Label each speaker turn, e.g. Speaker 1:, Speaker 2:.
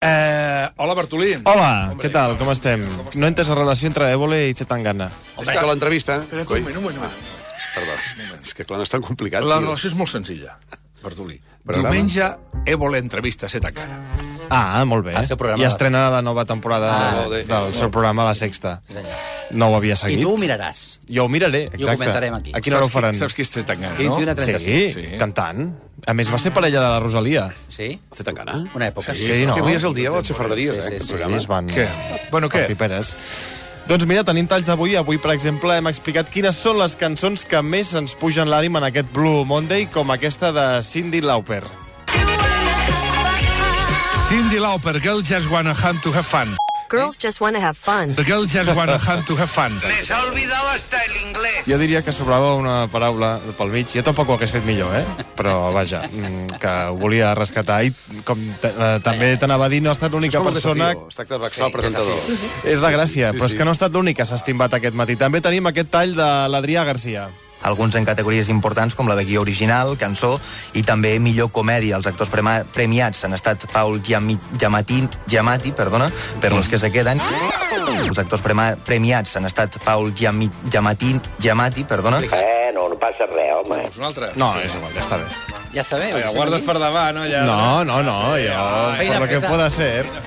Speaker 1: Eh, Hola, Bartolí.
Speaker 2: Hola, què tal? Com estem? No he entès la relació entre Évole i Zetangana.
Speaker 3: És que l'entrevista...
Speaker 1: Espera't
Speaker 3: coi,
Speaker 1: un moment, un moment, un moment.
Speaker 3: Perdó. És que, clar, no és tan complicat.
Speaker 1: La
Speaker 3: tio.
Speaker 1: relació és molt senzilla, Bartolí.
Speaker 3: Programa.
Speaker 1: Diumenge, Évole entrevista a Setacana.
Speaker 2: Ah, molt bé.
Speaker 4: El seu programa
Speaker 2: I
Speaker 4: de la
Speaker 2: estrena la nova temporada
Speaker 4: Ah,
Speaker 2: de- del seu programa, La Sexta. No ho havia seguit.
Speaker 4: I tu ho miraràs.
Speaker 2: Jo ho miraré, exacte.
Speaker 4: comentarem aquí.
Speaker 2: A quina hora ho faran?
Speaker 1: Qui, saps qui és Setacana, no?
Speaker 4: 21
Speaker 2: Sí,
Speaker 4: a 35.
Speaker 2: sí,
Speaker 1: Sí.
Speaker 2: cantant. A més, va ser parella de la Rosalia.
Speaker 4: Sí?
Speaker 3: Té tan gana?
Speaker 4: Una època.
Speaker 2: Sí, sí, no.
Speaker 3: Que avui és el dia de les xafarderies,
Speaker 4: Sí, sí,
Speaker 3: eh?
Speaker 4: sí,
Speaker 3: aquest
Speaker 4: sí,
Speaker 3: programa.
Speaker 2: Sí, es van...
Speaker 1: Què? Bueno, què?
Speaker 2: Piperes. Doncs mira, tenim talls d'avui. Avui, per exemple, hem explicat quines són les cançons que més ens pugen l'ànim en aquest Blue Monday, com aquesta de Cindy Lauper.
Speaker 1: Cindy Lauper, Girl Just Wanna Hunt to Have Fun.
Speaker 5: Girls just want to have fun.
Speaker 1: The Girl Just Wanna Hunt to Have Fun.
Speaker 6: Les ha olvidado hasta el inglés.
Speaker 2: Jo diria que sobrava una paraula pel mig. Jo tampoc ho hagués fet millor, eh? Però, vaja, mm, que ho volia rescatar. I com t- eh, també t'anava a dir, no ha estat l'única
Speaker 3: Com el
Speaker 2: persona...
Speaker 3: desafio. Es tracta de vexar el presentador.
Speaker 2: És la gràcia,
Speaker 3: sí,
Speaker 2: però és
Speaker 3: sí.
Speaker 2: que no ha estat l'única que s'ha estimbat aquest matí. També tenim aquest tall de l'Adrià Garcia.
Speaker 7: alguns en categories importants com la de guió original, cançó i també millor comèdia. Els actors prema- premiats han estat Paul Giammi, Giamatti, Giamatti perdona, per los que se queden. Els actors prema, premiats han estat Paul Giammi, Giamatti, Giamatti, perdona,
Speaker 8: Eh, no, no passa res, home.
Speaker 1: Un altre.
Speaker 2: No, és igual, ja està bé.
Speaker 4: Ja està bé.
Speaker 1: Guardes per davant, no? Allà.
Speaker 2: No, no, no, jo...
Speaker 4: Feina
Speaker 2: Por lo que
Speaker 4: feta.
Speaker 2: pueda ser.